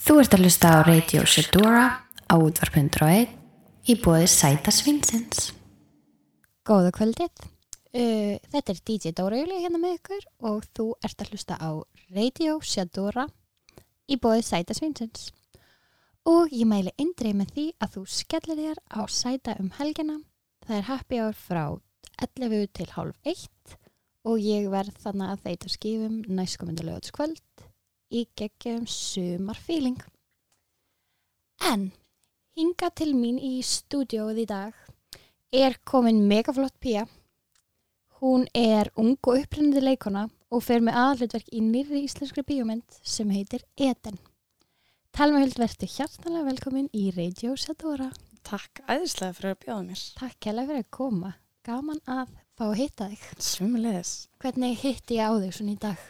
Þú ert að hlusta á Radio Shedora á útvarp 101 í bóði Sæta Svinsins. Góða kvöldið. Uh, þetta er DJ Dóra Júli hérna með ykkur og þú ert að hlusta á Radio Shadora í bóði Sæta Svinsins. Og ég mæli indrið með því að þú skellir þér á Sæta um helgina. Það er happy hour frá 11 til hálf 1 og ég verð þannig að þeita skifum næstkomundu lögutskvöld í geggjum sumarfíling. En hinga til mín í stúdióið í dag er komin megaflott pía. Hún er ung og upprennandi leikona og fer með aðhlutverk í nýrri íslenskri bíómynd sem heitir Eden. Talma Huld verður hjartanlega velkomin í Radio Sadora. Takk æðislega fyrir að bjóða mér. Takk hella fyrir að koma. Gaman að fá að hitta þig. Sumulegis. Hvernig hitti ég á þig svona í dag?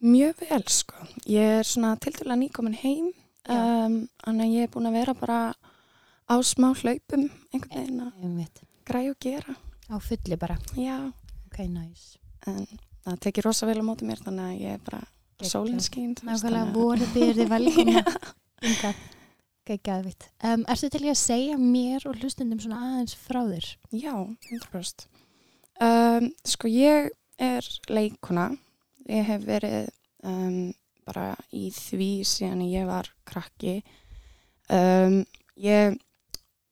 Mjög vel sko. Ég er svona tildulega nýkomin heim. Um, Þannig að ég er búin að vera bara á smá hlaupum einhvern veginn að Ég veit, græja og gera. á fulli bara. Já, Ok, næs. en það tekir rosa vel á móti mér þannig að ég er bara Geggjað. sólinskín. Nákvæmlega voru býður þig velkomin. Inga, ekki aðvitt. Um, ertu til í að segja mér og hlustundum svona aðeins frá þér? Já, 100%. Um, sko, ég er leikuna. Ég hef verið um, bara í því síðan ég var krakki. Um, ég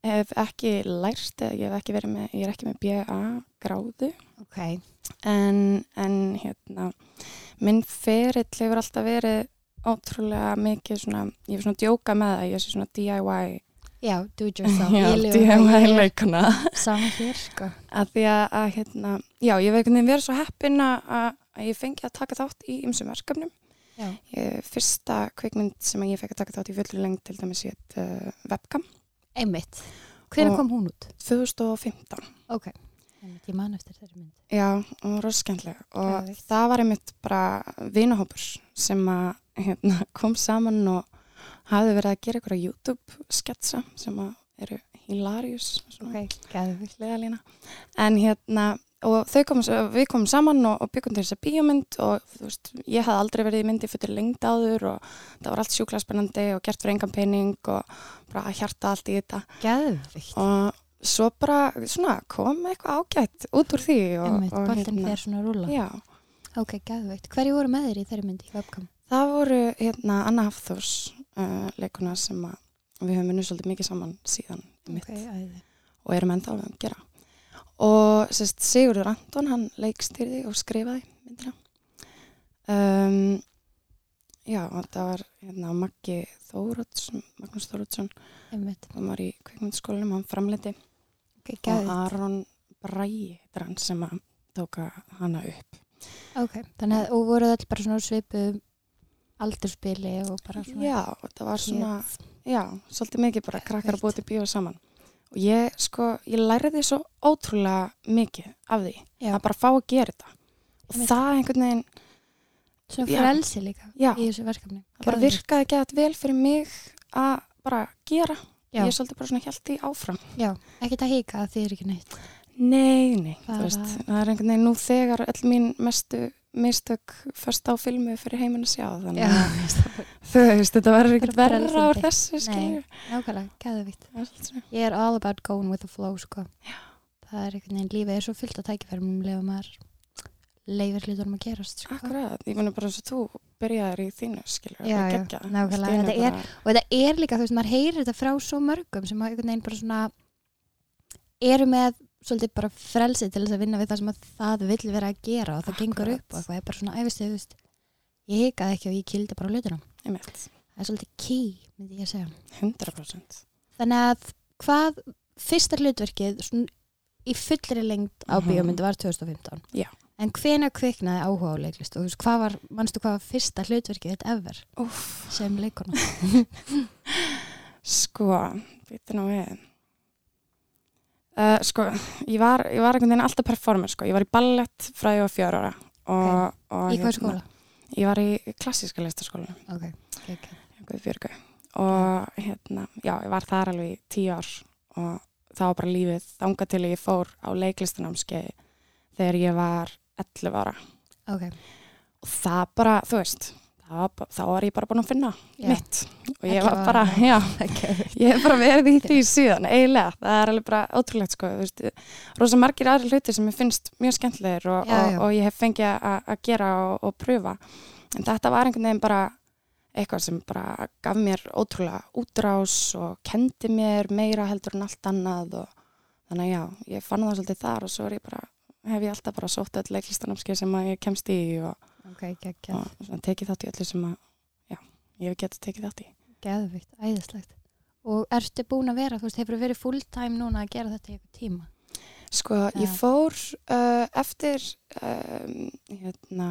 hef ekki lært eða ég hef ekki verið með, ég er ekki með BA gráðu Ok, en, en hérna minn ferill hefur alltaf verið ótrúlega mikið svona, ég hef svona djóka með það, ég sé svona DIY já, do it yourself. Já, Ég lifi á DIY því. leikuna Sama hér, sko. að því að, að hérna, já, ég hef einhvern veginn verið svo heppin að, að- að ég fengi að taka þátt í ymsum verkefnum. Já. Ég, fyrsta kvikmynd sem ég fekk að taka þátt í fullur lengt til dæmis ég hett uh, webcam Einmitt. Hvernig Og- kom hún út? 2015. Ok, einmitt, ég man eftir þeirri mynd. Já, og roskendlega. Og Geðveikt. það var einmitt bara vinahópur sem að hérna, kom saman og hafði verið að gera einhverja YouTube-sketsa sem að eru hilarious. svona Ok, gæðvill. hliðalína en hérna og þau kom, við komum saman og, og byggum til þessa bíómynd og þú veist, ég hafði aldrei verið í myndi fyrir lengd áður og það var allt sjúklega spennandi og gert fyrir engan pening og bara að hjarta allt í þetta Gæðvill. og svo bara svona kom eitthvað ágætt út úr því og, Einmitt, og hérna, boltin fer svona að rúla. já, Ok, gæðvill. Hverju voru með þér í þeirri mynd í webcam? það voru hérna Anna Hafþórs uh, leikuna sem að við höfum unnið svolítið mikið saman síðan einmitt. Ok, æði. og erum ennþá að gera og sérst, Sigurður Anton hann leikstýrði og skrifaði myndina um, já, og þetta var hérna, Maggi Þórótsson Magnús Þórótsson, Einmitt. hann var í kveikmyndaskólanum, hann framleiti Ok, og gæðvill. Aron Bræi heitir hann sem að tóka hana upp Ok, þannig að, og voru það bara svona á svipu aldurspili og bara svona já, og þetta var svona já, svolítið mikið bara krakkar að búa til bíó saman og ég sko, ég læriði svo ótrúlega mikið af því Já. að bara fá að gera þetta og Einmitt. það einhvern veginn svona Já. frelsi líka Já. í þessu verkefni það bara Geðveikt. virkaði ekki að vel fyrir mig að bara gera Já. ég er svolítið bara svona hjælt í áfram Já, ekkert að hika að þið er ekki neitt nei, nei, Bara- þú veist það er einhvern veginn nú þegar öll mín mestu mistök fyrst á filmu fyrir heiminn að sjá þannig að þú veist, þetta verður ekkert Bara verra úr frelsandi. þessu skilju nákvæmlega, gæðuvíkt Það er svolítið svona. Ég er all about going with the flow sko. það er einhvern veginn, lífið er svo fullt að tækifærum lefa maður leifir hlutunum að gerast sko. akkurat, ég finnur bara eins og þú byrjaðir í þínu skilju, Já, já, nákvæmlega. Þetta er- og þetta er líka, þú veist, maður heyrir þetta frá svo mörgum sem að einhvern veginn bara svona eru með svolítið bara frelsi til þess að vinna við það sem að það vill vera að gera og það gengur Akkurat. upp og eitthvað, ég bara svona æfist þið, þú veist ég hikaði ekki og ég kildi bara á hlutunum einmitt, það er svolítið key, myndi ég að segja 100% þannig að hvað fyrsta hlutverkið svona í fullri lengd á Mhm. bíómyndu var 2015 Já. en hvena kviknaði áhuga á leiklist og þú veist, hvað var, manstu hvað var fyrsta hlutverkið þetta ever Úff, sem leikona sko, býttu nú við Uh, sko, ég var, ég var einhvern veginn alltaf performer, sko. Ég var í ballett frá ég var fjör ára. Og, og, í hvað hérna, skóla? Ég var í klassíska listaskólanum, ok, ekki Guðbjörgu. Og hérna, já, ég var þar alveg í tíu ár og það var bara lífið þangað til ég fór á leiklistanámskeið þegar ég var 11 ára. Ok, Og það bara, þú veist, það var, ba- þá var ég bara búin að finna Já. mitt og ég Ekki var var- bara, já, Geðveikt. ég hef bara verið í því síðan, eiginlega, það er alveg bara ótrúlegt sko, þú veist, rosa margir aðri hluti sem ég finnst mjög skemmtilegir og, Já, já. og, og ég hef fengið að- að gera og, og pröfa, en þetta var einhvern veginn bara eitthvað sem bara gaf mér ótrúlega útrás og kendi mér meira heldur en allt annað og þannig að já, ég fann það svolítið þar og svo er ég bara, hef ég alltaf bara sótt öll leiklistanamskeið sem að ég kemst í og Ok, geggjað. og svona, tekið þátt í öllu sem að já, ég hef getið tekið þátt í Geðvikt, æðislegt. Og ertu búin að vera, þú veist, hefur verið full time núna að gera þetta í eitthvað tíma? sko, Já. ég fór uh, eftir um, hérna,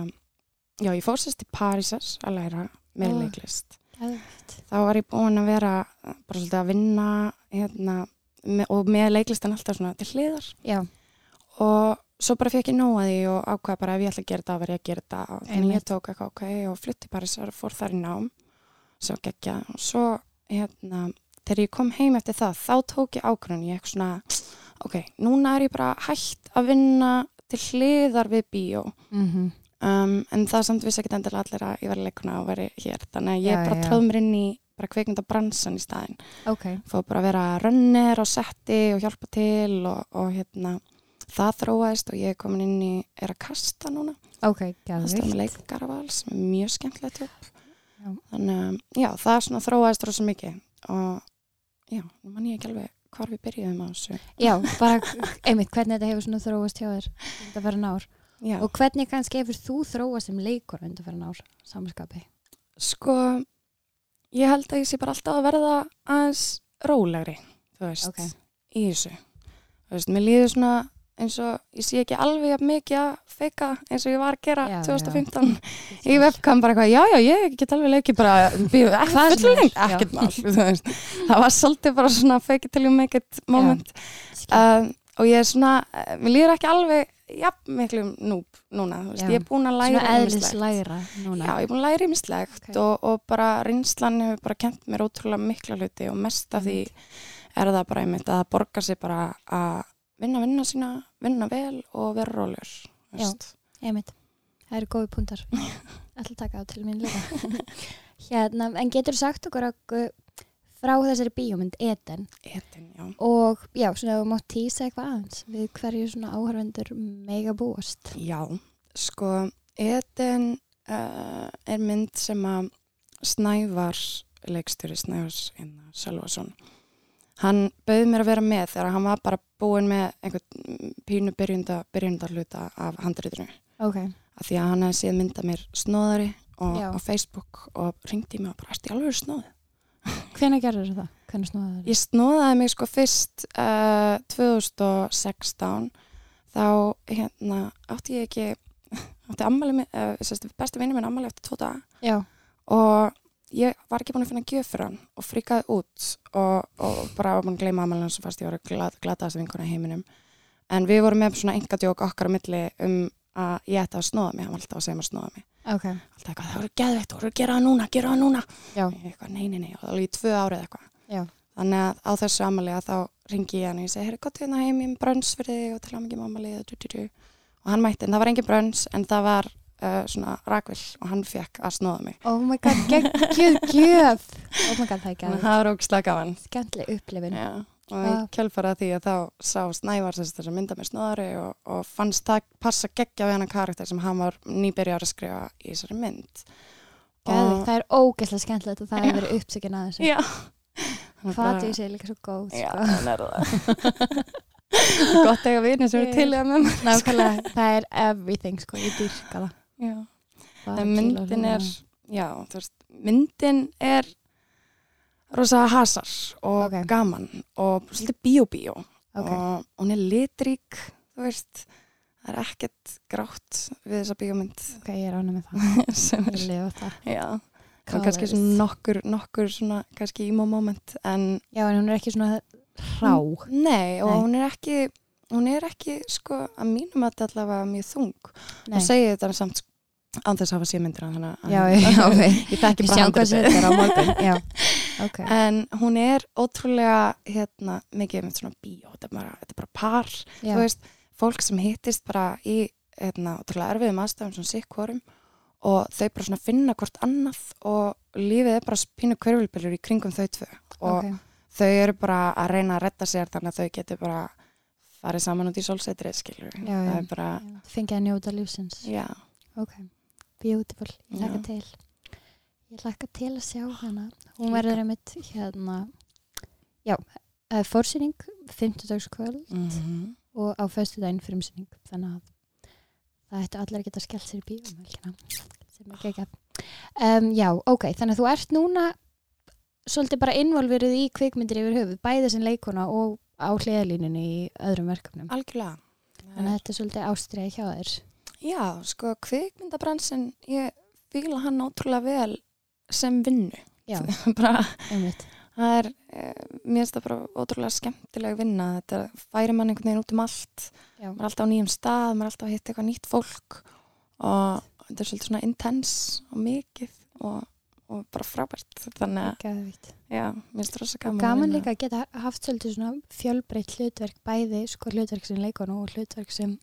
já, ég fór sérst til Parísars að læra með Já. leiklist Geðvikt. þá var ég búin að vera uh, bara svolítið að vinna hérna, með, og með leiklistan alltaf svona til hliðar Já, og svo bara fekk ég nóa því og ákvaða bara ef ég ætla að gera þetta, þá verð ég að gera þetta og þannig Einmitt. ég tók eitthvað ok og flutti bara þessar og fór þar í nám sem gekkja og svo hérna, þegar ég kom heim eftir það þá tók ég ákvörðun ég eitthvað svona, ok, núna er ég bara hægt að vinna til hliðar við bíó mm um, en það samt vissi ekkert endilega allir að ég var leikuna og veri hér, þannig að ég Já, bara já, já. tróð mér inn í bara kveikmyndabransan í staðinn ok. fór bara að vera rönnir á setti og hjálpa til og, og hérna það þróaðist og ég er komin inn í er að kasta núna, Ok, kasta með geðvikt. leikarval sem er mjög skemmtilegt upp Já. þannig um, já, það svona þróaðist rosa mikið og já, nú man ég ekki alveg hvar við byrjuðum á þessu Já, bara, einmitt, hvernig þetta hefur svona þróast hjá þér undanferðan ár? já, Og hvernig kannski hefur þú þróast sem leikur undanferðan ár samskapi? sko ég held að ég sé bara alltaf að verða aðeins rólegri, þú veist Ok. í þessu þú veist, mér líður svona eins og ég sé ekki alveg jafn mikið að feika eins og ég var að gera Já, já. 2015 í webcam bara eitthvað, já, já, ég get alveg leikið bara, býðu, Hvað ekkert sem er, fullengt já. ekkert mál, þú veist það var svolítið bara svona fake it till you make it moment Skil. um, og ég er svona, eh, mér líður ekki alveg jafn miklum núb núna, þú veist, Já. ég er búin að læra Svona ýmislegt. eðlislæra núna. Já, ég er búin að læra ýmislegt Ok. og, og bara reynslan hefur bara kent mér ótrúlega mikla hluti og mest af því er það bara einmitt að það borga sig bara að vinna vinna sína, vinna vel og vera rólur. Já. Einmitt, það eru góði púntar Alltaf taka á til mín líka Hérna, en getur sagt okkur okkur frá þessari bíómynd Eden Etin, já. og já, svona þú mátt tísa eitthvað aðeins við hverju svona áhörvendur mega búast Já, sko, Eden uh, er mynd sem að Snævar, leikstjóri Snævars hérna, Sölvason, hann bauð mér að vera með þegar hann var bara búin með einhvern pínu byrjunda, byrjunda hluta af handritinu. Ok, að því að hann hefði séð mynda mér snóðari og, Já. á Facebook og ringdi mig og bara erst í alveg snóð. hvenær gerður það? Hvernig snúða það? Ég snóðaði mig sko fyrst uh, 2016 þá hérna átti ég ekki átti ammali, uh, sérst, besti vinur minn ammali eftir tvo daga Já, og ég var ekki búin að finna gjöf fyrir hann og frikaði út og, og bara var búin að gleyma ammælinn svo fast ég var glad, gladaðast vinkona í heiminum en við vorum með svona enga djók okkar á milli um að ég ætti að snóða mig, hann var alltaf að segja mér að snóða mig ok, alltaf eitthvað, það voru geðveikt, þú voru að gera það núna, gera það núna Já. Ég eitthvað, nei, nei, nei, og alveg í tvö árið eitthvað Já. þannig að á þessu amalega þá ringi ég hann og ég segi, herri, gott hérna heim ég er brönns fyrir þig og tala mikið um amalega du, du, du. og hann mætti, en það var engin brönns en það var uh, svona rakvill og hann fekk að snóða mig oh my god, geggjuð gjöf Oh my god, það er þannig að gæðið það var ógislega gaman Skemmtileg upplifin Já, og í Ah. kjölfara því að þá sá Snævar sem þess að mynda með snóðari og, og fannst það passa geggja við hennar karakter sem hann var nýbyrjar að skrifa í þessari mynd Geðvikt, það er ógeðslega skemmtilegt og það Já. hefur verið uppsökin að þessu Já. Hann bara- Hvað því sé líka svo góð Já, sko. hann er það. Gott að eiga vinni sem eru til í að með mér. Nákvæmlega, Sko, það er everything sko, ég dyrka það. Já. það. En myndin er, já, þú veist, myndin er rosa hasar og Ok. gaman og svolítið bíó-bíó Ok, og hún er litrík, þú veist, það er ekkert grátt við þessa bíómynd ok, ég er ánum með það. sem Ég er, lifa það. já, og kannski svona nokkur, nokkur svona, kannski emo-moment en Já, en hún er ekki svona hrá. Mm. Nei, og Nei. hún er ekki hún er ekki, sko, að mínum að þetta allavega mjög þung Nei. og segi þetta samt sko, án þess að hafa símyndina þannig að Já, já, ok. Ah. ég Við þekki bara sjáum hvað handritið. þetta er á morgun. Já, ok. en hún er ótrúlega hérna, mikið með svona bíó þetta er bara, þetta er bara par, Já, þú veist fólk sem hittist bara í hérna, ótrúlega erfiðum aðstæðum svona sikk hvorum og þau bara svona finna hvort annað og lífið er bara pínu hverfylbyrjur í kringum þau tvö og ok. þau eru bara að reyna að redda sér þannig að þau getur bara farið saman út í solsetrið skilur Já, já. það er bara, Fengið að njóta lífsins. já, Ok, beautiful. Ég Já. hlakka til. Ég hlakka til að sjá hana. Hún Líka. verður einmitt hérna, já, uh, fórsýning, 50 dagskvöld mm og á föstu daginn frumsýning. Þannig að það ættu allir að geta skellt sér í bíum, helgina, sem er gegja. Um, já, ok, þannig að þú ert núna svolítið bara involverið í kvikmyndir yfir höfuð, bæði sem leikuna og á hliðalínunni í öðrum verkefnum. algjörlega Þannig að þetta er svolítið ástriða hjá þér. Já, sko, kvikmyndabransin, ég fíla hann ótrúlega vel sem vinnu. Já, bara, einmitt. það er, eh, mér finnst það bara ótrúlega skemmtileg vinna. Þetta færi mann einhvern veginn út um allt. Já. Maður er alltaf á nýjum stað, maður er alltaf að hitta eitthvað nýtt fólk og þetta er svolítið svona intense og mikið og, og bara frábært. Þannig að, Geðvikt. já, mér finnst það rosa gaman. og að gaman vinna. líka að geta haft svolítið svona fjölbreytt hlutverk bæði sko hlutverk sem leikon og hlutverk sem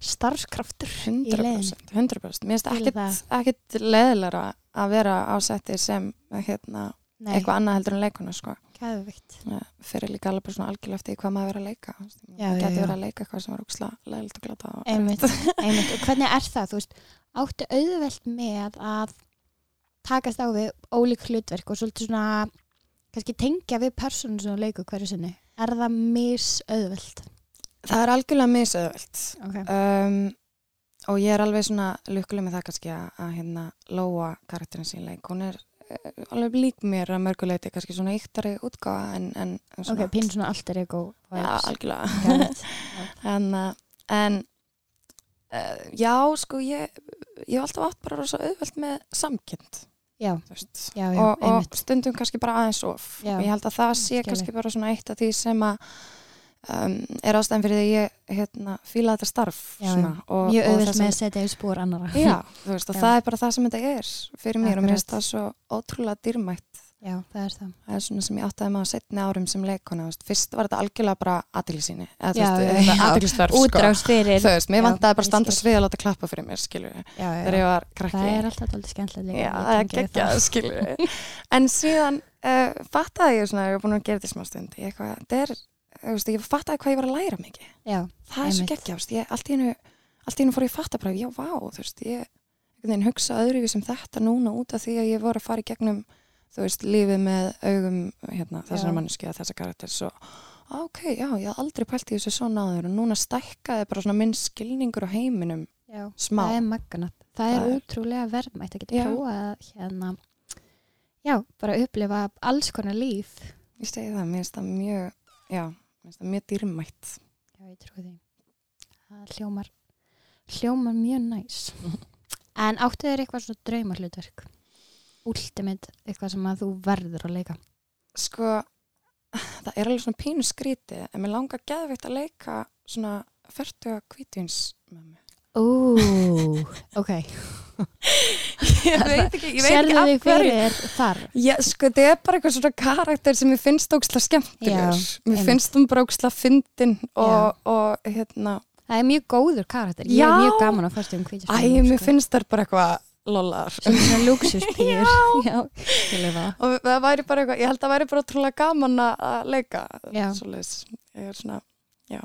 starfskraftur í leiðin 100%, 100%. Mér Fíla finnst það ekkert leðilega að vera á setti sem hérna, eitthvað annað heldur en leikuna, sko. gæðvikt Já, fyrir líka alveg bara svona algjörlega eftir því hvað maður er að leika þú veist, Já, maður já, getur já. verið að leika eitthvað sem er ógslag leðilt og glata og einmitt, einmitt. og hvernig er það, þú veist áttu auðvelt með að takast á við ólík hlutverk og svolítið svona kannski tengja við persónu sem þú leikur hverju sinni er það mis auðvelt það er algjörlega misöðvöld okay. um, og ég er alveg svona lukkuleg með það kannski að, að hérna lóa karakterin sín leik hún er eh, alveg lík mér að mörguleiti kannski svona yktari útgáfa en, en en ok, svona, pín svona alltaf ego já, algjörlega Geðveikt. en, uh, en uh, já, sko ég ég hef alltaf átt bara rosa auðvelt með samkynnt já, þú veist já, já, og, einmitt og stundum kannski bara aðeins of Já. og ég held að það sé Skilji. kannski bara svona eitt af því sem að um, er ástæðan fyrir því að ég hérna, fíla þetta starf Já, svona, og, mjög og auðvelt með það sem- að setja í spór annara Já, þú veist, og Já. það er bara það sem þetta er fyrir mér og Akkurat. mér finnst það svo ótrúlega dýrmætt já, það er það það er svona sem ég áttaði með á setni árum sem leikona þú veist, fyrst var þetta algjörlega bara aðtili síni eða þú Já, já, veist, já. aðtilisverf sko. útrás fyrir þú veist, mér Já, vantaði ég bara að standa skil. svið að láta klappa fyrir mér, skilju já, já, þegar ég var krakki það er alltaf aldrei skemmtilegt líka Já, ég það er tengi við geggjað, skilur við. En síðan uh, fattaði ég svona, ég var búin að gera þetta í smá stund, ég eitthvað, þetta er, þú veist, ég fattaði hvað ég var að læra mikið. það. já, Það er svo Einmitt. geggjað, þú veist, ég, allt í hennu, allt í hennu fór ég að fatta bara, já, vá, þú veist, ég, einhvern veginn hugsa öðruvíð sem þetta núna út af því að ég voru að fara í gegnum, þú veist, lífið með augum, hérna, Já. þessar manneski að þessa karakter, svo, á, ok, já, ég haf aldrei pælt í þessu svona áður og núna stækkaði bara svona minn skilningur á heiminum já. smá. það er magna það Það er er- útrúlega verðmætt að geta Já. prófað að, hérna já, bara upplifa alls konar líf Ég segi það, mér finnst það mjög, já, mér finnst það mjög dýrmætt. já, ég trúi því það hljómar hljómar mjög næs en áttu þér eitthvað svona draumarhlutverk ultimate, eitthvað sem að þú verður að leika sko, það er alveg svona pínu skrítið, en mér langar geðveitt að leika svona fyrtu að kvítins með mig. Ú, ok Ég veit ekki, Sérðu þig fyrir þér þar Já, sko, þetta er bara eitthvað svona karakter sem mér finnst óksla skemmtilegur. Já, mér einmitt. finnst hún bara óksla fyndin og, og hérna, Það er mjög góður karakter. Ég er Já. mjög gaman að fyrstu um hvítjast. æ, mér finnst það bara eitthvað lollar. Sem svona luxuspýr. Já. Ég lifa. Og það væri bara eitthvað, ég held að það væri bara ótrúlega gaman að- að leika. Já. Svoleiðis, ég er svona, já.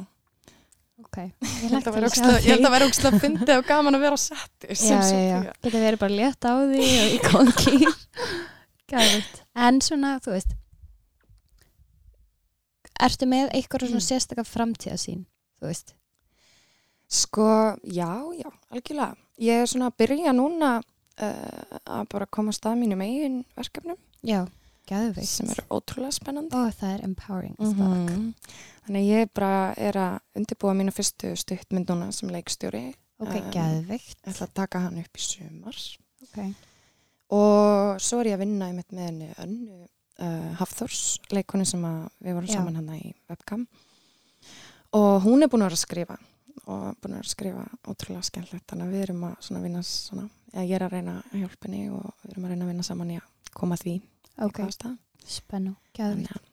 Ok. Ég Ég held lagt að til vera að sjá óksla- ég held þig. að vera óksla fyndið og gaman að vera á setti. Já, sem já, já. Sophia. Geta verið bara létt á því og í kongi. Gæðvitt. En svona, þú veist, ertu með eitthvað svona Mm. sérstaka framtíðasín? Þú veist. Sko, já, já, algjörlega. Ég er svona að byrja núna uh, að bara koma að stað mínum eigin verkefnum Já. Gæðvitt. sem eru ótrúlega spennandi. Ó, það er empowering. as Mm fuck. Þannig að ég bara er að undirbúa mína fyrstu stuttmynd núna sem leikstjóri. Ok, Um, Ég gæðvitt. ætla að taka hann upp í sumar. Ok. Og svo er ég að vinna einmitt með henni önnu uh, Hafþórs, leikonu sem að við vorum Já. saman hann í webcam. Og hún er búin að vera að skrifa og búin að vera að skrifa ótrúlega skemmtilegt. Þannig að við erum að svona vinna svona, eða ég er að reyna að hjálpa henni og við erum að reyna að vinna saman í að koma því Ok. í hvaða stað. Spennu. Gæðvitt. Þannig að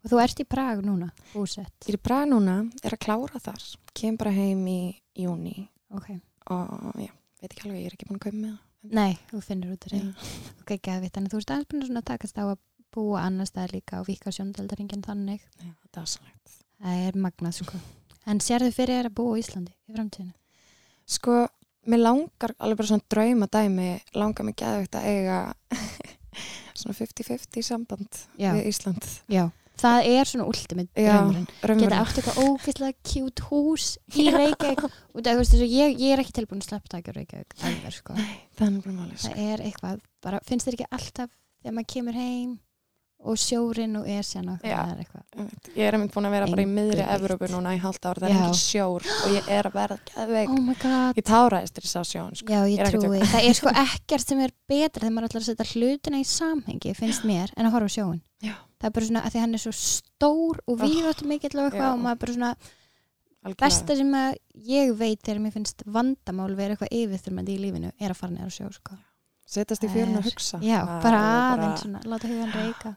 Og þú ert í Prag núna, búsett. ég er bara núna, er að klára þar, kem bara heim í júni Ok. og já, veit ekki alveg, ég er ekki búin að kaupa með það. Nei, þú finnur út af því. Já. Ok, geðvitt, þannig að þú ert aðeins búin að svona takast á að búa annar staðar líka og vika sjóndeldaringin þannig. Já, það er sannlegt. Það er magnað, sko. En sérðu fyrir þér að búa á Íslandi í framtíðinu? Sko, mér langar alveg bara svona drauma dæmi, langar mér geðvægt að eiga svona 50-50 samband Já, við Ísland. já. Það er svona ultimate Já, draumurinn. Geta Raunverulega. átt eitthvað ógeðslega kjút hús í Reykjavík. Út af, þú veist, þessu, ég, ég er ekki tilbúin að sleppa takja Reykjavík. Alveg, sko. Það er náttúrulega málið. sko. Það er eitthvað, bara finnst þér ekki alltaf þegar maður kemur heim og sjórin og er sérna og Já. það er eitthvað. Einmitt. Ég er einmitt búin að vera bara í miðri Einmitt. Evrópu núna í halda ára, það er Já. ekki sjór og ég er að verða geðveik. Oh my god. Ég táraðist til þess að sjón, sko. Já, ég Ég er ekki að trúi. Það er sko ekkert sem er betra þegar maður ætlar að setja hlutina í samhengi, finnst mér, en að horfa á sjóun. Já. Það er bara svona, að því hann er svo stór og víðáttu mikill og Já. eitthvað og maður bara svona, Algjörlega. besta sem að ég veit þegar mér finnst vandamál vera eitthvað yfirþurmandi í lífinu er að fara neður á sjó, sko. Setjast í Það fjörun og er- hugsa. Já, Það er bara alveg bara- aðeins svona, láta hugan reyka.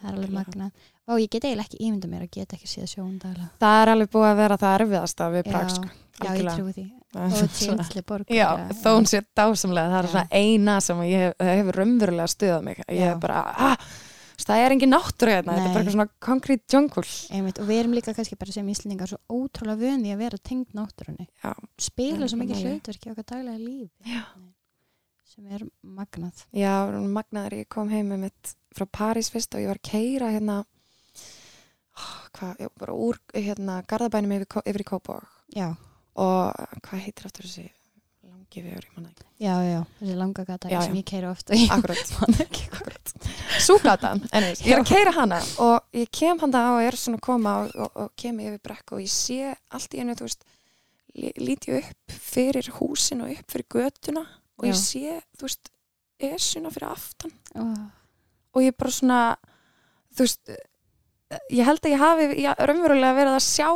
Það er alveg Algjörlega. magnað. Ó, ég get eiginlega ekki ímynda mér að geta ekki séð sjóun daglega. Það er alveg búið að vera það erfiðasta við Já. Prag, Já, sko. ég Algjörlega. trúi því. Það er Og svona- tímsli borg. Já, bara- þó hún sé dásamlega, það er Já. svona eina sem ég hef, það hefur raunverulega stuðað mig. Ég Já. hef bara, ah, þú veist, það er engin náttúru hérna, þetta er Nei. bara eitthvað svona konkrét jungle. Einmitt, og við erum líka kannski bara sem íslendingar svo ótrúlega vöndi að vera tengd náttúrunni Já. spila Það svo er mikið málið. hlutverki okkar daglega lífi Já. sem er magnað Já, magnaður, ég kom heim með mitt frá París fyrst og ég var að keira hérna, ah, hvað, ég var bara úr hérna garðabænum yfir, Kó- yfir í Kópavog já, og hvað heitir aftur þessi langi vegur, ég manna ekki. já, já, þessi langa gata Já, já. sem ég keira ofta í Akkurat. Akkurat. Súgatan, ennins. Ég er að keira hana og ég kem handa á og er svona að koma og, og, og kem yfir brekku og ég sé allt í einu, þú veist, lí- lít ég upp fyrir húsin og upp fyrir götuna og ég Já. sé, þú veist, esuna fyrir aftan Ó, og ég bara svona, þú veist, ég held að ég hafi ég, raunverulega verið að sjá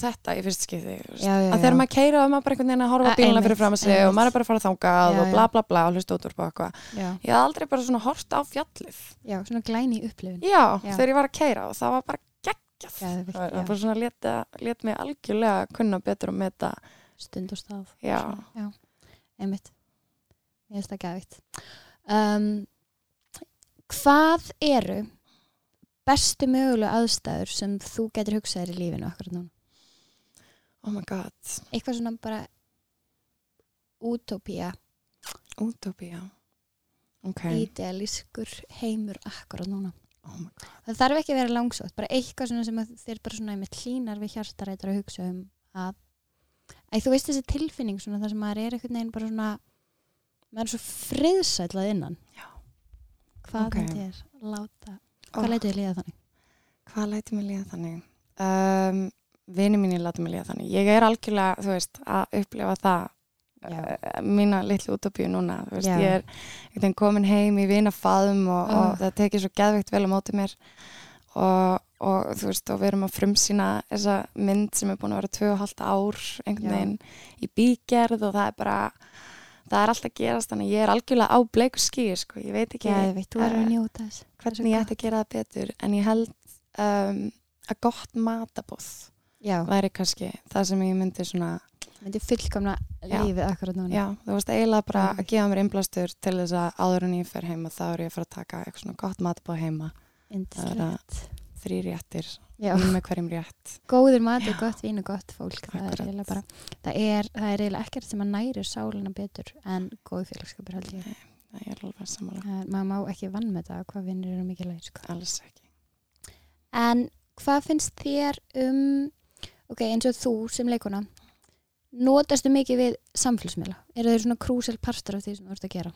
þetta í fyrst skipti, þú veist. já, já, Að þegar maður keira og maður bara einhvern veginn að horfa Að á bíluna einmitt, fyrir fram að sig og einmitt. maður er bara að fara þangað Já, og já. bla bla bla og hlust út úr baka. já, Ég hef aldrei bara svona hort á fjallið. já, svona glæni upplifin Já, Já. þegar ég var að keira og það var bara geggjað. Geðveikt, það já. var bara svona létt, létt mig algjörlega að kunna betur um þetta. stund og stað Já, Svona, já. einmitt ég veist það gæfitt um, hvað eru bestu mögulega aðstæður sem þú getur hugsað þér í lífinu akkurat núna oh my god, eitthvað svona bara útópía, utopía. Ok, idealískur heimur akkurat núna. oh my god. Það þarf ekki að vera langsótt, bara eitthvað svona sem að þér bara svona með hlínar við hjartarættur að hugsa um að Æ, þú veist þessi tilfinning svona þar sem maður er einhvern veginn bara svona maður er svo friðsætlað innan Já. Hvað Ok. okay. myndi ég láta Hvað Oh, oh. leitu ég liða þannig? Hvað læti mig líða þannig? Um, Vini mínir láti mig líða þannig. Ég er algjörlega, þú veist, að upplifa það Já. eh, mína litlu utopíu núna þú veist, Já. ég er einhvern veginn komin heim í vinafaðum og, Ah. og það tekið svo geðveikt vel á móti mér og, og þú veist og við erum að frumsýna þessa mynd sem er búin að vera tvö og halvt ár Já. einhvern veginn í bígerð og það er bara það er allt að gerast þannig að ég er algjörlega á bleiku skýr sko. ég veit ekki Geðveikt, þú Eh, verður að njóta þess hvernig ég ætti að gera það betur en ég held um, að gott matabóð Já, væri kannski það sem ég myndi svona myndi fullkomna Já. lífið akkurat núna Já, þú veist eiginlega bara að Einmitt. gefa mér innblastur til þess að áður en ég fer heima þá er ég að fara að taka eitthvað svona gott matbóð heima Það er Indislegt þrý réttir, Já. einu með hverjum rétt góður matur, gott vín og gott fólk það er Akkurat. eiginlega bara það er, það er eiginlega ekkert sem að næri sálina betur en góð félagskapur held ég Það er alveg sammála, Það er- maður má ekki vann með það hvað vinnir eru mikilvæg sko. alls ekki en hvað finnst þér um ok, eins og þú sem leikuna notastu mikið við samfélagsmiðla eru þeir svona krúsel partur af því sem þú ert að gera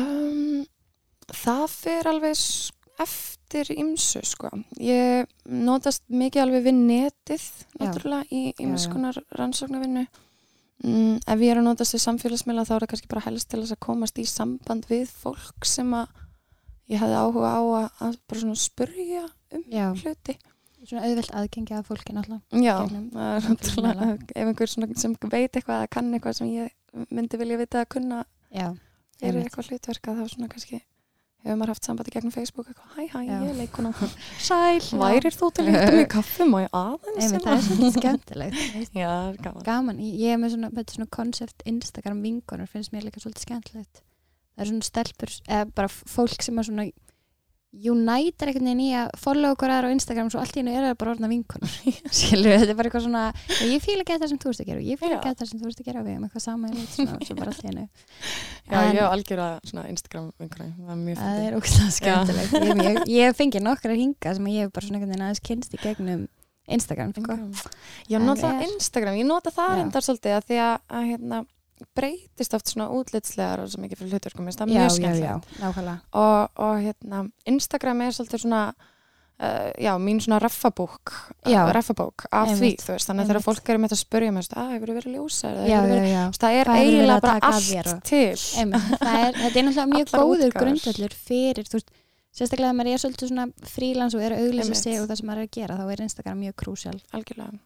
um, Það fer alveg s- eftir ymsu sko Ég notast mikið alveg við netið Já. náttúrulega í Já, ymsu já. konar rannsóknarvinnu mm, Ef ég er að notast við samfélagsmiðla þá er það kannski bara helst til þess að komast í samband við fólk sem að ég hefði áhuga á að, að bara svona spurja um já, hluti svona auðvelt aðgengi að fólki náttúrulega Já, Gegnum það er samfélagsmiðla. náttúrulega ef einhver svona sem veit eitthvað eða kann eitthvað sem ég myndi vilja vita að kunna já, er Einmitt. eitthvað hlutverk að þá svona kannski hefur maður haft sambandi gegnum Facebook eitthvað, hæ, hæ, Já. ég er leikuna Sæl. værir þú til eitthvað með kaffi, má ég aðeins hérna? Einmitt, það er svolítið skemmtilegt. þú veist. já, gaman Gaman, ég ég er með svona, með svona concept Instagram vinkonur, finnst mér líka svolítið skemmtilegt. Það er svona stelpur, eða bara f- fólk sem er svona unætir einhvern veginn í að follow okkur aðra á Instagram svo allt í hennu er það bara orðna vinkonur. Skilur, þetta er bara eitthvað svona, "Já, ég fíla ekki þetta sem þú veist að gera og ég fíla Já. ekki þetta sem þú veist að gera og við erum eitthvað saman, svona, svo bara allt í hennu. já, ég hef algjörlega svona Instagram vinkunni, það er mjög Það fyndið er ógstað skemmtilegt. Ég, ég, ég hef fengið nokkra hinga sem ég hef bara svona einhvern veginn aðeins kynst í gegnum Instagram. Sko. Já, En nota er- Instagram, ég nota það Já. reyndar svolítið að því að, að hérna, breytist oft svona útlitslegar og svo mikið fyrir hlutverkum, minnst það er Já, mjög já, skemmtilegt já, nákvæmlega. og, og hérna, Instagram er svolítið svona uh, já, mín svona raffabók, Já. uh, raffabók af Einmitt, því, þú veist, þannig að þegar einmitt. fólk er með þetta að spurja mér, að hefur "Ah, verið ljósar Já, eða hefurðu já, verið- já. þú veist, það er Hvað hefurðu verið eiginlega að taka bara af þér allt og- til Einmitt, það er, þetta er náttúrulega mjög Allar góður útgáfur. grundvöllur fyrir, þú veist, sérstaklega þegar maður er svolítið svona frílans og er að auglýsa Einmitt. sig og það sem maður er að gera, þá er Instagram mjög krúsjál, algjörlega,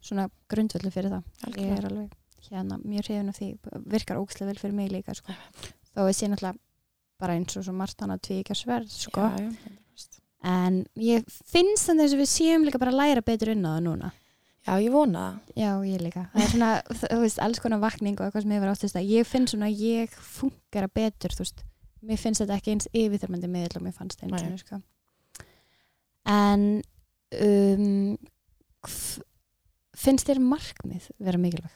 svona grundvöllur fyrir það. Ég algjörlega. er alveg hérna mjög hrifin af því, virkar ókslega vel fyrir mig líka, sko. Þó ég sé náttúrulega bara eins og svo margt annað tvíkja sverð, sko. Já, já. En ég finnst þannig þess að við séum líka bara að læra betur inn á það núna. já, ég vona það Já, ég líka. Það er svona, þú veist, alls konar vakning og eitthvað sem hefur áttist að ég finn svona að ég fungera betur, þú veist. Mér finnst þetta ekki eins yfirþyrmandi miðl og mér fannst það eins og Nei. mér, sko. En um, hv- finnst þér markmið vera mikilvæg?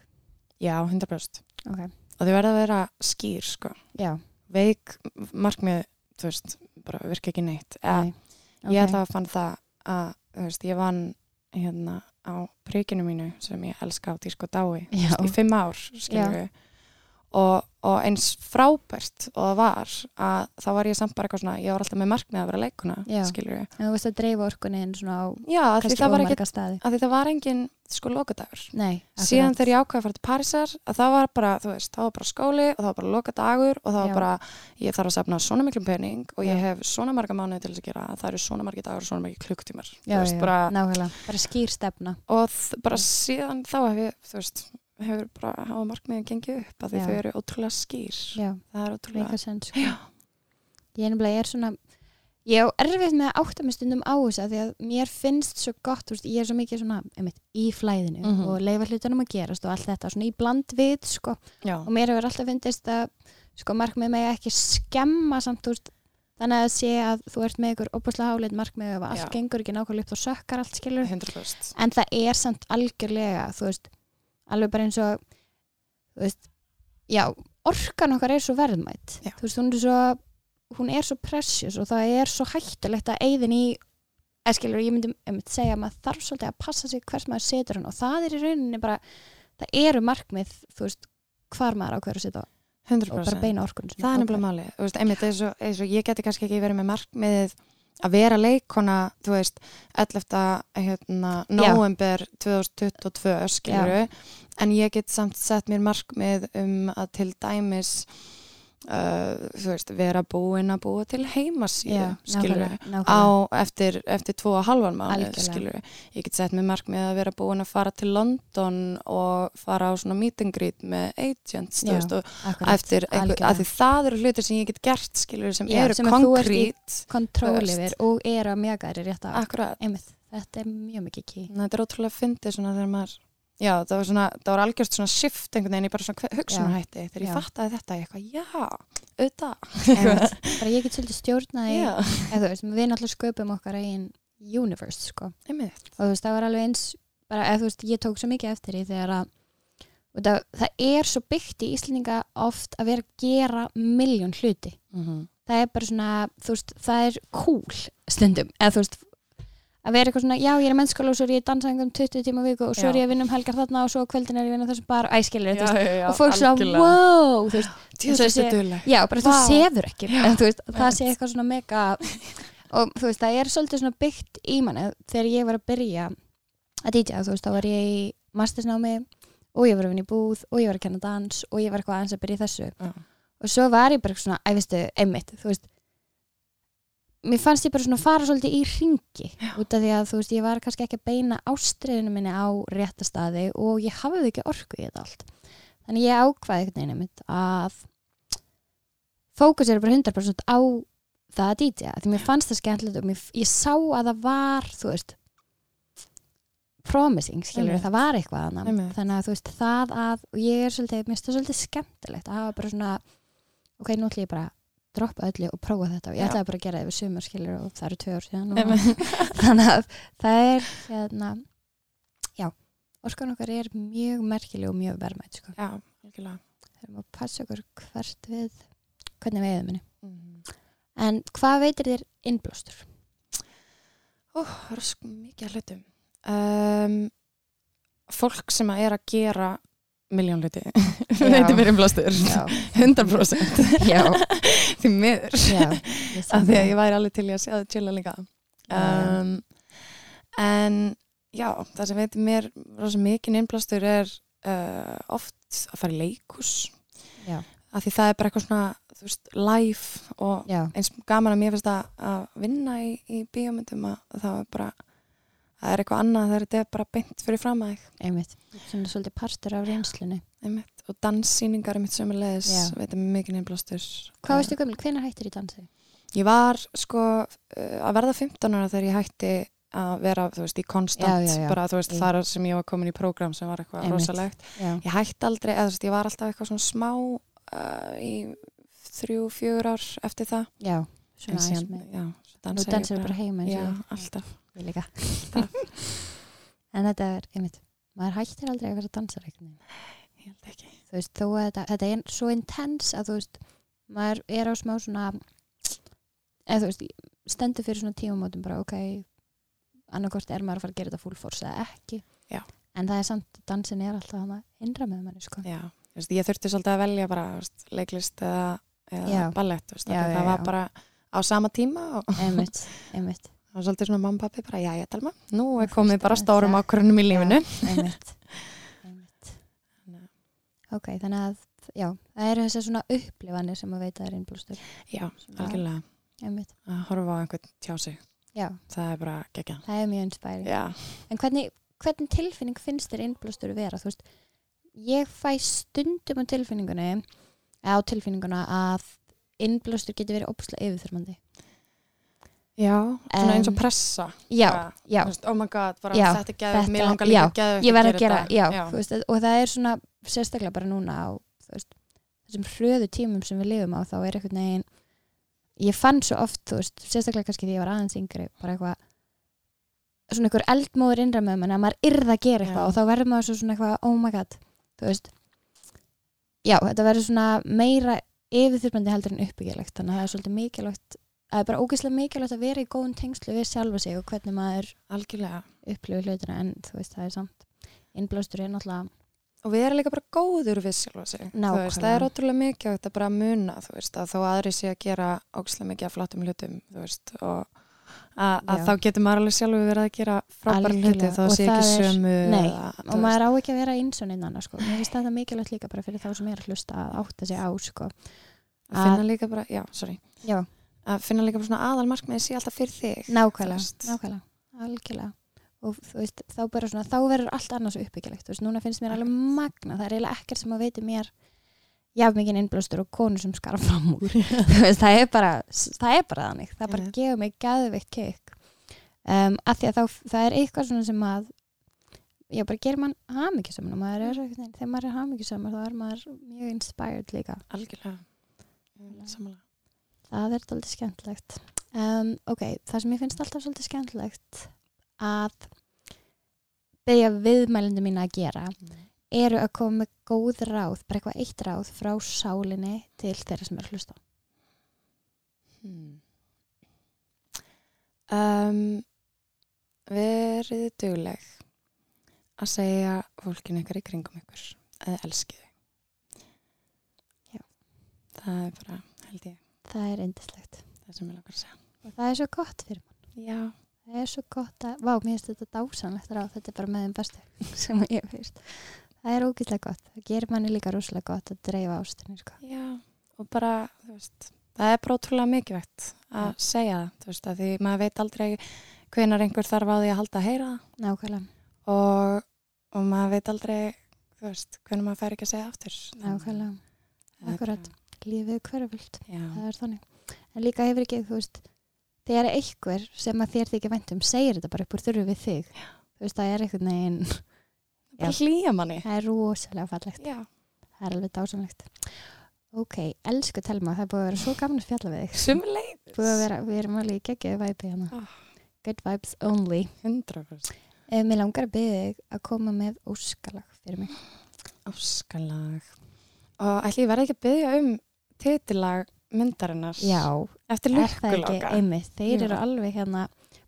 Já, 100% Ok, og þau verða að vera skýr, sko já. veik markmið, þú veist, bara virka ekki neitt eða, nei, ég ok. ætla að fann það að, þú veist, ég vann hérna á prikinu mínu sem ég elska á tísku dái Já, í fimm ár, skilur við og, og eins frábært og það var að þá var ég samt bara eitthvað svona, ég var alltaf með markmið að vera leikuna, Já. skilur við en þú veist að dreifa orkunni inn svona á já, af því kannski það var ekki, ómarga staði. að því það var engin sko lokadagur Nei, síðan akkurat. þegar ég ákvaði að fara til Parísar að það var bara, þú veist, það var bara skóli og það var bara loka dagur og það var Já. bara ég þarf að safna svona miklum pening og ég Já. hef svona marga mánuði til þess að gera það eru svona margi dagur og svona margi klukktímar þú Já, veist, já, bara, nákvæmlega, bara skýr stefna og þ- bara síðan þá hef ég, þú veist hefur bara hafa markmiðin gengið upp af því Já. þau eru ótrúlega skýr Já, það er ótrúlega, meika sens sko. Ég er nefnilega, ég er svona ég á erfitt með að átta mig stundum á þessu af því að mér finnst svo gott þú veist, ég er svo mikið svona, einmitt, í flæðinu Mhm. og leifa hlutunum að gerast og allt þetta svona í bland við, sko, já, og mér hefur alltaf fyndist að, sko, markmið með ekki skemma samt, þú veist þannig að sé að þú ert með ykkur opaslega háleit markmið og ef allt Já. gengur ekki nákvæmlega upp þá sökkar allt skilur 100% en það er samt algjörlega þú veist, alveg bara eins og þú veist, já orkan okkar er svo verðmætt Já. þú veist, hún er svo hún er svo precious og það er svo hættulegt að eigðin í eða skilur, ég myndi, ég myndi segja að maður þarf svolítið að passa sig hvers maður setur hann og það er í rauninni bara, það eru markmið þú veist, hvar maður ákveður að setja og 100% bara beina orkunum það er nefnilega máli, þú veist, einmitt eins og, eins og ég geti kannski ekki verið með markmiðið að vera leikona, þú veist 11. Hérna, Já. november 2022 skiluru, en ég get samt sett mér markmið um að til dæmis uh, þú veist, vera búin að búa til heimasíðu, skiluru á eftir, eftir tvo og halvan mánuð Algjörlega. skilur ég get sett mér markmið að vera búin að fara til London og fara á svona meet and greet með agents þú Já. veist, og nákvæmlega, eftir einhver, algjörlega. að því það eru hlutir sem ég get gert skilur sem Já, eru sem að þú ert í- konkrét kontróli Þú við og er að mega er rétt að akkurat, einmitt, þetta er mjög mikið ký þetta er ótrúlega fyndið svona þegar maður já, það var svona, það var algjörst svona shift einhvern veginn í bara svona hve- hugsunarhætti þegar ég Já. fattaði þetta, ég eitthvað, já, auðvitað Einmitt. bara ég get svolítið stjórnaði já, eða þú veist, við náttúrulega sköpum okkar eigin universe, sko, einmitt og þú veist, það var alveg eins bara, eða þú veist, ég tók svo mikið eftir því þegar að og það, það er svo byggt í Íslendinga oft að vera að gera miljón hluti það er bara svona, þú veist, það er cool stundum, eða þú veist að vera eitthvað svona, já ég er í mennskóla og svo er ég í dansæðingum 20 tíma á viku og svo er Já. ég að vinna um helgar þarna og svo á kvöldin er ég að vinna á þessum bara æskilir, þú veist, já, já, og fólk svo, wow, þú veist Djöfull svo ertu sé- dugleg. Já, bara þú Vá. sefur ekki en, þú veist, það einmitt. sé eitthvað svona mega og þú veist, það er svolítið svona byggt í manni þegar ég var að byrja að DJ, þú veist, þá var ég í mastersnámi og ég var að vinna í búð og ég var að kenna dans og ég var eitthvað aðeins að byrja í þessu Já. og svo var ég bara eitthvað svona, æ, veistu, einmitt þú veist mér fannst ég bara svona fara svolítið í ringi út af því að þú veist, ég var kannski ekki að beina ástriðinu minni á rétta staði og ég hafði ekki orku í þetta allt þannig ég ákvaði einhvern veginn einmitt að fókus er bara 100% á það að DJ því mér fannst það skemmtilegt og mér, ég sá að það var, þú veist promising, skilur Einmitt. það var eitthvað annað, Einmitt. þannig að þú veist það að, og ég er svolítið, mér finnst það svolítið skemmtilegt að hafa bara svona ok, nú ætlum ég bara að droppa öllu og prófa þetta og ég Já. ætlaði bara að gera það við sumar skilur og það eru tvö ár síðan og, þannig að það er hérna, já, orkan okkar er mjög merkileg og mjög verðmætt sko. Já, algjörlega. þurfum að passa okkur hvert við hvernig við eðum henni Mm. en hvað veitir þér innblástur? Ó, það eru sko mikið af hlutum. Um, fólk sem að er að gera miljón hluti. Þetta er mér innblástur. 100% já, því miður. já Af því að ég væri alveg til í að sjá það chilla líka. Já. Um, en já, það sem veitir mér rosa mikið innblástur er uh, oft að fara í leikus. já, Af því það er bara eitthvað svona, þú veist, live og já, eins gaman að mér finnst að, að vinna í, í bíómyndum að það er bara það er eitthvað annað þegar þetta er bara beint fyrir fram að þig einmitt svona svolítið partur af reynslunni einmitt. og danssýningar er mitt sömulegis Já. veit að mikið nefnblástur hvað veistu gömul, hvenær hættir í dansi? ég var sko uh, að verða 15 ára þegar ég hætti að vera þú veist í Já, konstant já, já. bara þú veist Í- þar sem ég var komin í prógram sem var eitthvað Einmitt. rosalegt já, ég hætti aldrei, eða þú veist ég var alltaf eitthvað svona smá uh, í þrjú, fjögur ár eftir það já, En svona aðeins síðan- með já, svo nú dansa ég dansir bara heima eins já, og alltaf ég líka en þetta er, einmitt maður hættir aldrei að vera dansareikni ég held ekki þú veist, þó að þetta, þetta er svo intens að þú veist, maður er á smá svona eða þú veist, stendur fyrir svona tímamótum bara ok, annarkort er maður að fara að gera þetta full force eða ekki Já. en það er samt, dansin er alltaf hana innra með manni, sko Já, þú veist, ég þurfti svolítið að velja bara þú veist, leiklist eða, eða Já. ballett þú veist, Já, já, já, það var já. bara á sama tíma og einmitt, einmitt, það var svolítið svona mamma og pappi bara, já, ég telma, nú er Nú komið fyrst bara aðeins stórum það. ákvörunum í Já. lífinu einmitt einmitt Þannig ok, þannig að, já, það eru þessar svona upplifanir sem að veita þær innblústur Já, algjörlega, einmitt, að horfa á einhvern tjá sig já, það er bara geggjað það er mjög inspiring Já, En hvernig, hvernig tilfinning finnst þér innblástur vera? Þú veist, ég fæ stundum á tilfinningunni eða á tilfinninguna að innblástur getur verið óbúslega yfirþyrmandi. já svona eins Em, og pressa Já, bara, já. þú veist, Oh my god, bara Já, þetta geður, mér þetta- langar líka já, geður Ég verð að gera, já, já, þú veist, og það er svona sérstaklega bara núna á þú veist, þessum hröðu tímum sem við lifum á þá er eitthvað negin ég fann svo oft, þú veist, sérstaklega kannski því ég var aðeins yngri, bara eitthvað svona einhver eldmóður innra með mann að maður yrða að gera eitthvað Já. og þá verður maður svo svona eitthvað, oh my god þú veist já, þetta verður svona meira yfirþyrmandi heldur en uppbyggilegt þannig að það er svolítið mikilvægt það er bara ógeðslega mikilvægt að vera í góðum tengslu við sjálfa sig og hvernig maður algjörlega upplifu hlutina en þú veist það er samt innblástur er náttúrulega og við erum líka bara góður við sjálfa sig Þú veist, það er nákvæmlega ótrúlega mikið að bara muna þú veist, að þó aðri sé að gera ókslega mikið af flottum hlutum þú veist, og að, Já. að þá getur maður alveg sjálfur verið að gera frábæra Algjörlega. hluti þá Og sé það ekki er- sömu nei, eða, þú og maður á ekki að vera einsönninn annars sko, mér finnst þetta mikilvægt líka bara fyrir þá sem er að hlusta að átta sig á sko að finna líka bara, já, sorry já, að finna líka bara svona aðalmarkmiði sé alltaf fyrir þig nákvæmlega, veist. nákvæmlega, algjörlega og þú veist, þá bara svona, þá verður allt annars uppbyggilegt, þú veist, núna finnst mér alveg magna það er eiginlega ekkert sem að veiti mér jafn mikið innblástur og konu sem skara fram úr þú veist, það er bara það er bara þannig, það bara Einmitt. gefur mig gæðveikt kekk um, af því að þá, það er eitthvað svona sem að já, bara gerir mann hamingjusaman og maður er, einhvern veginn- þegar maður er hamingjusaman þá er maður mjög inspired líka algjörlega Sammála. Það er svolítið skemmtilegt. Um, ok, það sem ég finnst alltaf svolítið skemmtilegt að byrja viðmælindu mína að gera eru að koma með góð ráð, bara eitthvað eitt ráð frá sálinni til þeirra sem eru að hlusta. hmm. um, verið dugleg að segja fólkinu ykkur í kringum ykkur eða elski þau Já. það er bara, held ég Það er indislegt. það sem ég langar að segja. Og það er svo gott fyrir mann. Já. Það er svo gott að, vá, mér finnst þetta dásanlegt ráð, þetta er bara með þeim bestu sem ég hef finnst. Það er ógætlega gott. Það gerir manni líka rosalega gott að dreifa ástinni, sko. Já, og bara, þú veist, það er bara ótrúlega mikilvægt að segja það, þú veist, að því maður veit aldrei hvenar einhver þarf á því að halda að heyra það Nákvæmlega. og, og maður veit aldrei, þú veist, hvenar maður fær ekki að segja aftur. Nákvæmlega. Það er bara- Akkurat. Lífið hverfult. Já, það er þannig en líka hefur ekki, þú veist þegar einhver sem að þér þykir væntum segir þetta bara upp úr þurru við þig þú veist, það er einhvern veginn Bara hlýja manni. það er rosalega fallegt, Já. það er alveg dásanlegt ok, elsku Telma, það er búið að vera svo gaman að fjalla við þig Sumleið. búið að vera, við erum alveg í geggjöðu væpi hérna Ah. good vibes only 100%. Eh, Mér langar að byggja þig að koma með óskalag fyrir mig. Áskalag. Og ætli ég verði ekki að byggja um titilag myndarinnar. Já, Eftir er það ekki lukkuláka. einmitt? Þeir Jú. eru alveg hérna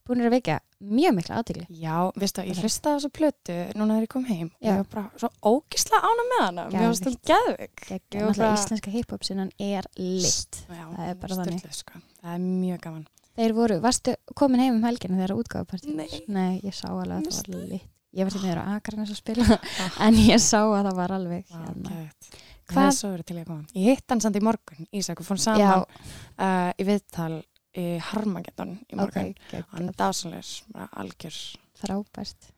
búinir að vekja mjög mikla aðtíli. Já, veistu, ég hlusta þessu plötu núna þegar ég kom heim. Já. Ég var bara svo ógisla ána með hana. Mér varst hún geðvik. Ég var Náttúrulega bara- íslenska hiphop sinnan er lit. Já, Það er bara þannig. sturluð, Sko. Það er mjög gaman. Þeir voru, varstu komin heim um helginu þegar útgáfapartíð? Nei. Nei, ég sá alveg að það Misti. var lit. Ég var til meður á Akarnes að spila, en ég sá að það var alveg Vá, hérna. geðveikt. Ég Hvað- hef svo verið til í að koma. Ég hitt hann samt í morgun, Ísak, við fórum Já, saman uh, í viðtal í Harmageddon í ok, morgun. Hann geggjað. er dásanlegur, bara algjör. frábært.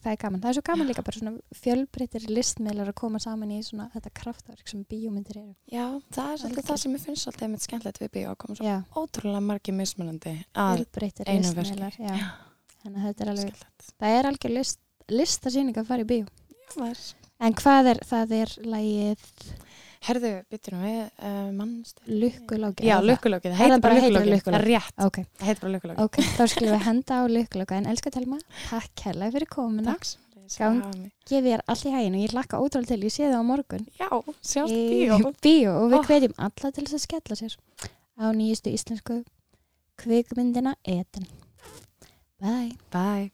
Það er gaman. Það er svo gaman líka bara svona fjölbreyttir listmiðlar að koma saman í svona þetta kraftverk sem bíómyndir eru. Já, það er Algjör. svolítið það sem ég finnst svolítið mitt skemmtilegt við bíó að koma svo Já, ótrúlega margir mismunandi að fjölbreyttir einu listmiðlar. verki. Já. Þannig að þetta er alveg, skemmtilegt. það er algjör list, listasýning að fara í bíó. Það er. En hvað er, það er lægið Herðu, byttur nú við, uh, mannstu. lukkulóki? Já, lukkulókið, það Er það heitir bara bara heitir lukkulókið. Lukkulögin? Það er rétt, Ok, það heitir bara lukkulókið. ok, þá skulum við henda á lukkulóka. En elsku Telma, takk kærlega fyrir komuna. Takk sem leiðis Gaman. hafa mig. Gefið þér allt í hæginu, ég lakka ótrúlega til, ég sé það á morgun. Já, sjást Í bíó. Bíó og við Oh. hvetjum alla til þess að skella sér á nýjustu íslensku kvikmyndina Eden. Bye. Bye.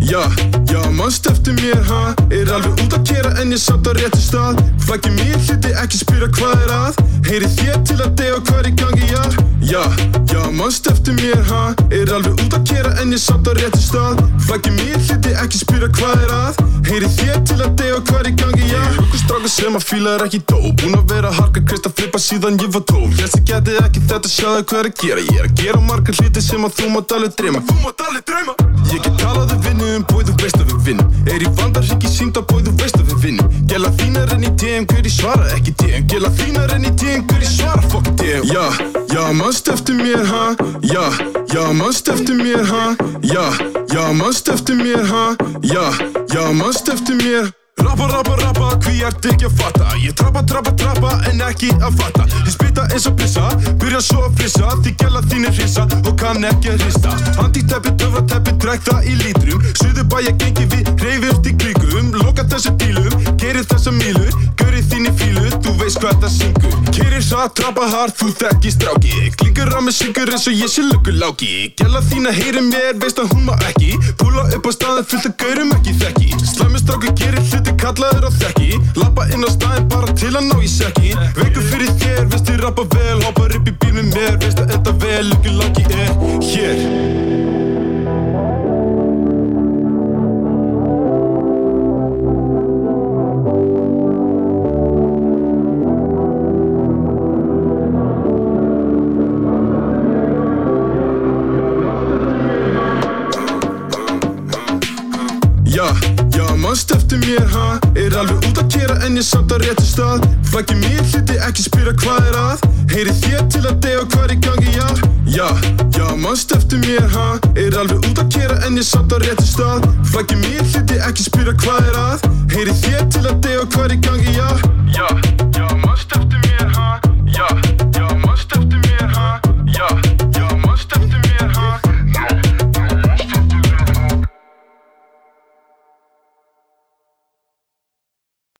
Já, já, mannst eftir mér, ha Er alveg út að kera en ég samt á réttu stað Flækir mér hluti, ekki spyrja hvað er að Heyri þér til að deyja hvað er í gangi, já Já, já, mannst eftir mér, ha Er alveg út að kera en ég samt á réttu stað Flækir mér hluti, ekki spyrja hvað er að Heyri þér til að deyja hvað er í gangi, já Rúkur stráka sem að fíla er ekki dó Búin að vera að harka krist að flippa síðan ég var tó Þessi geti ekki þetta sjáðu hvað er að gera Ég er að gera margar hluti sem að þú mátt alveg dreyma Þú mátt alveg dreyma Ég get talað við vinnu um bóið, þú veist að við vinnum Er í vandarriki sínd á bóið, þú veist að við vinnum Gjala þínar en í DM, hver í svara ekki DM Gjala þínar en í DM, hver í svara fuck DM Já, já, mannst eftir mér, ha Já, já, mannst eftir mér, ha Já, já, mannst eftir mér, ha Já, já, mannst eftir mér Rappa, rappa, rappa, hví ert ekki að fatta Ég trappa, trappa, trappa, en ekki að fatta Ég spita eins og pissa, byrja svo að frissa Því gæla þínir hrissa og kann ekki að hrista Andíkteppi, töfrateppi, drekk það í lítrum Suðubæja gengi við, reyfist í klíkum Loka þessu bílum, gerir þessa mílur Görir þín í fílu, þú veist hvað það syngur Kerir hratt, trappa hart, þú þekki stráki Klingur á mig syngur eins og ég sé lukkuláki Gæla þína heyri mér, veist að hún má ekki Púla upp á staðin fullt af gaurum ekki þekki Slæmi stráku gerir hluti kallaður á þekki Lappa inn á staðin bara til að ná í sekki Veikur fyrir þér, veist ég rappa vel Hoppar upp í bíl með mér, veist að enda vel Lukkuláki er hér Já, já, mannst eftir mér, ha Er alveg út að kera en ég samt á réttu stað Flækir mér hluti, ekki spyrja hvað er að Heyri þér til að deyja hvað er í gangi, já Já, já, mannst eftir mér, ha Er alveg út að kera en ég samt á réttu stað Flækir mér hluti, ekki spyrja hvað er að Heyri þér til að deyja hvað er í gangi, já Já, já, mannst eftir mér, ha Já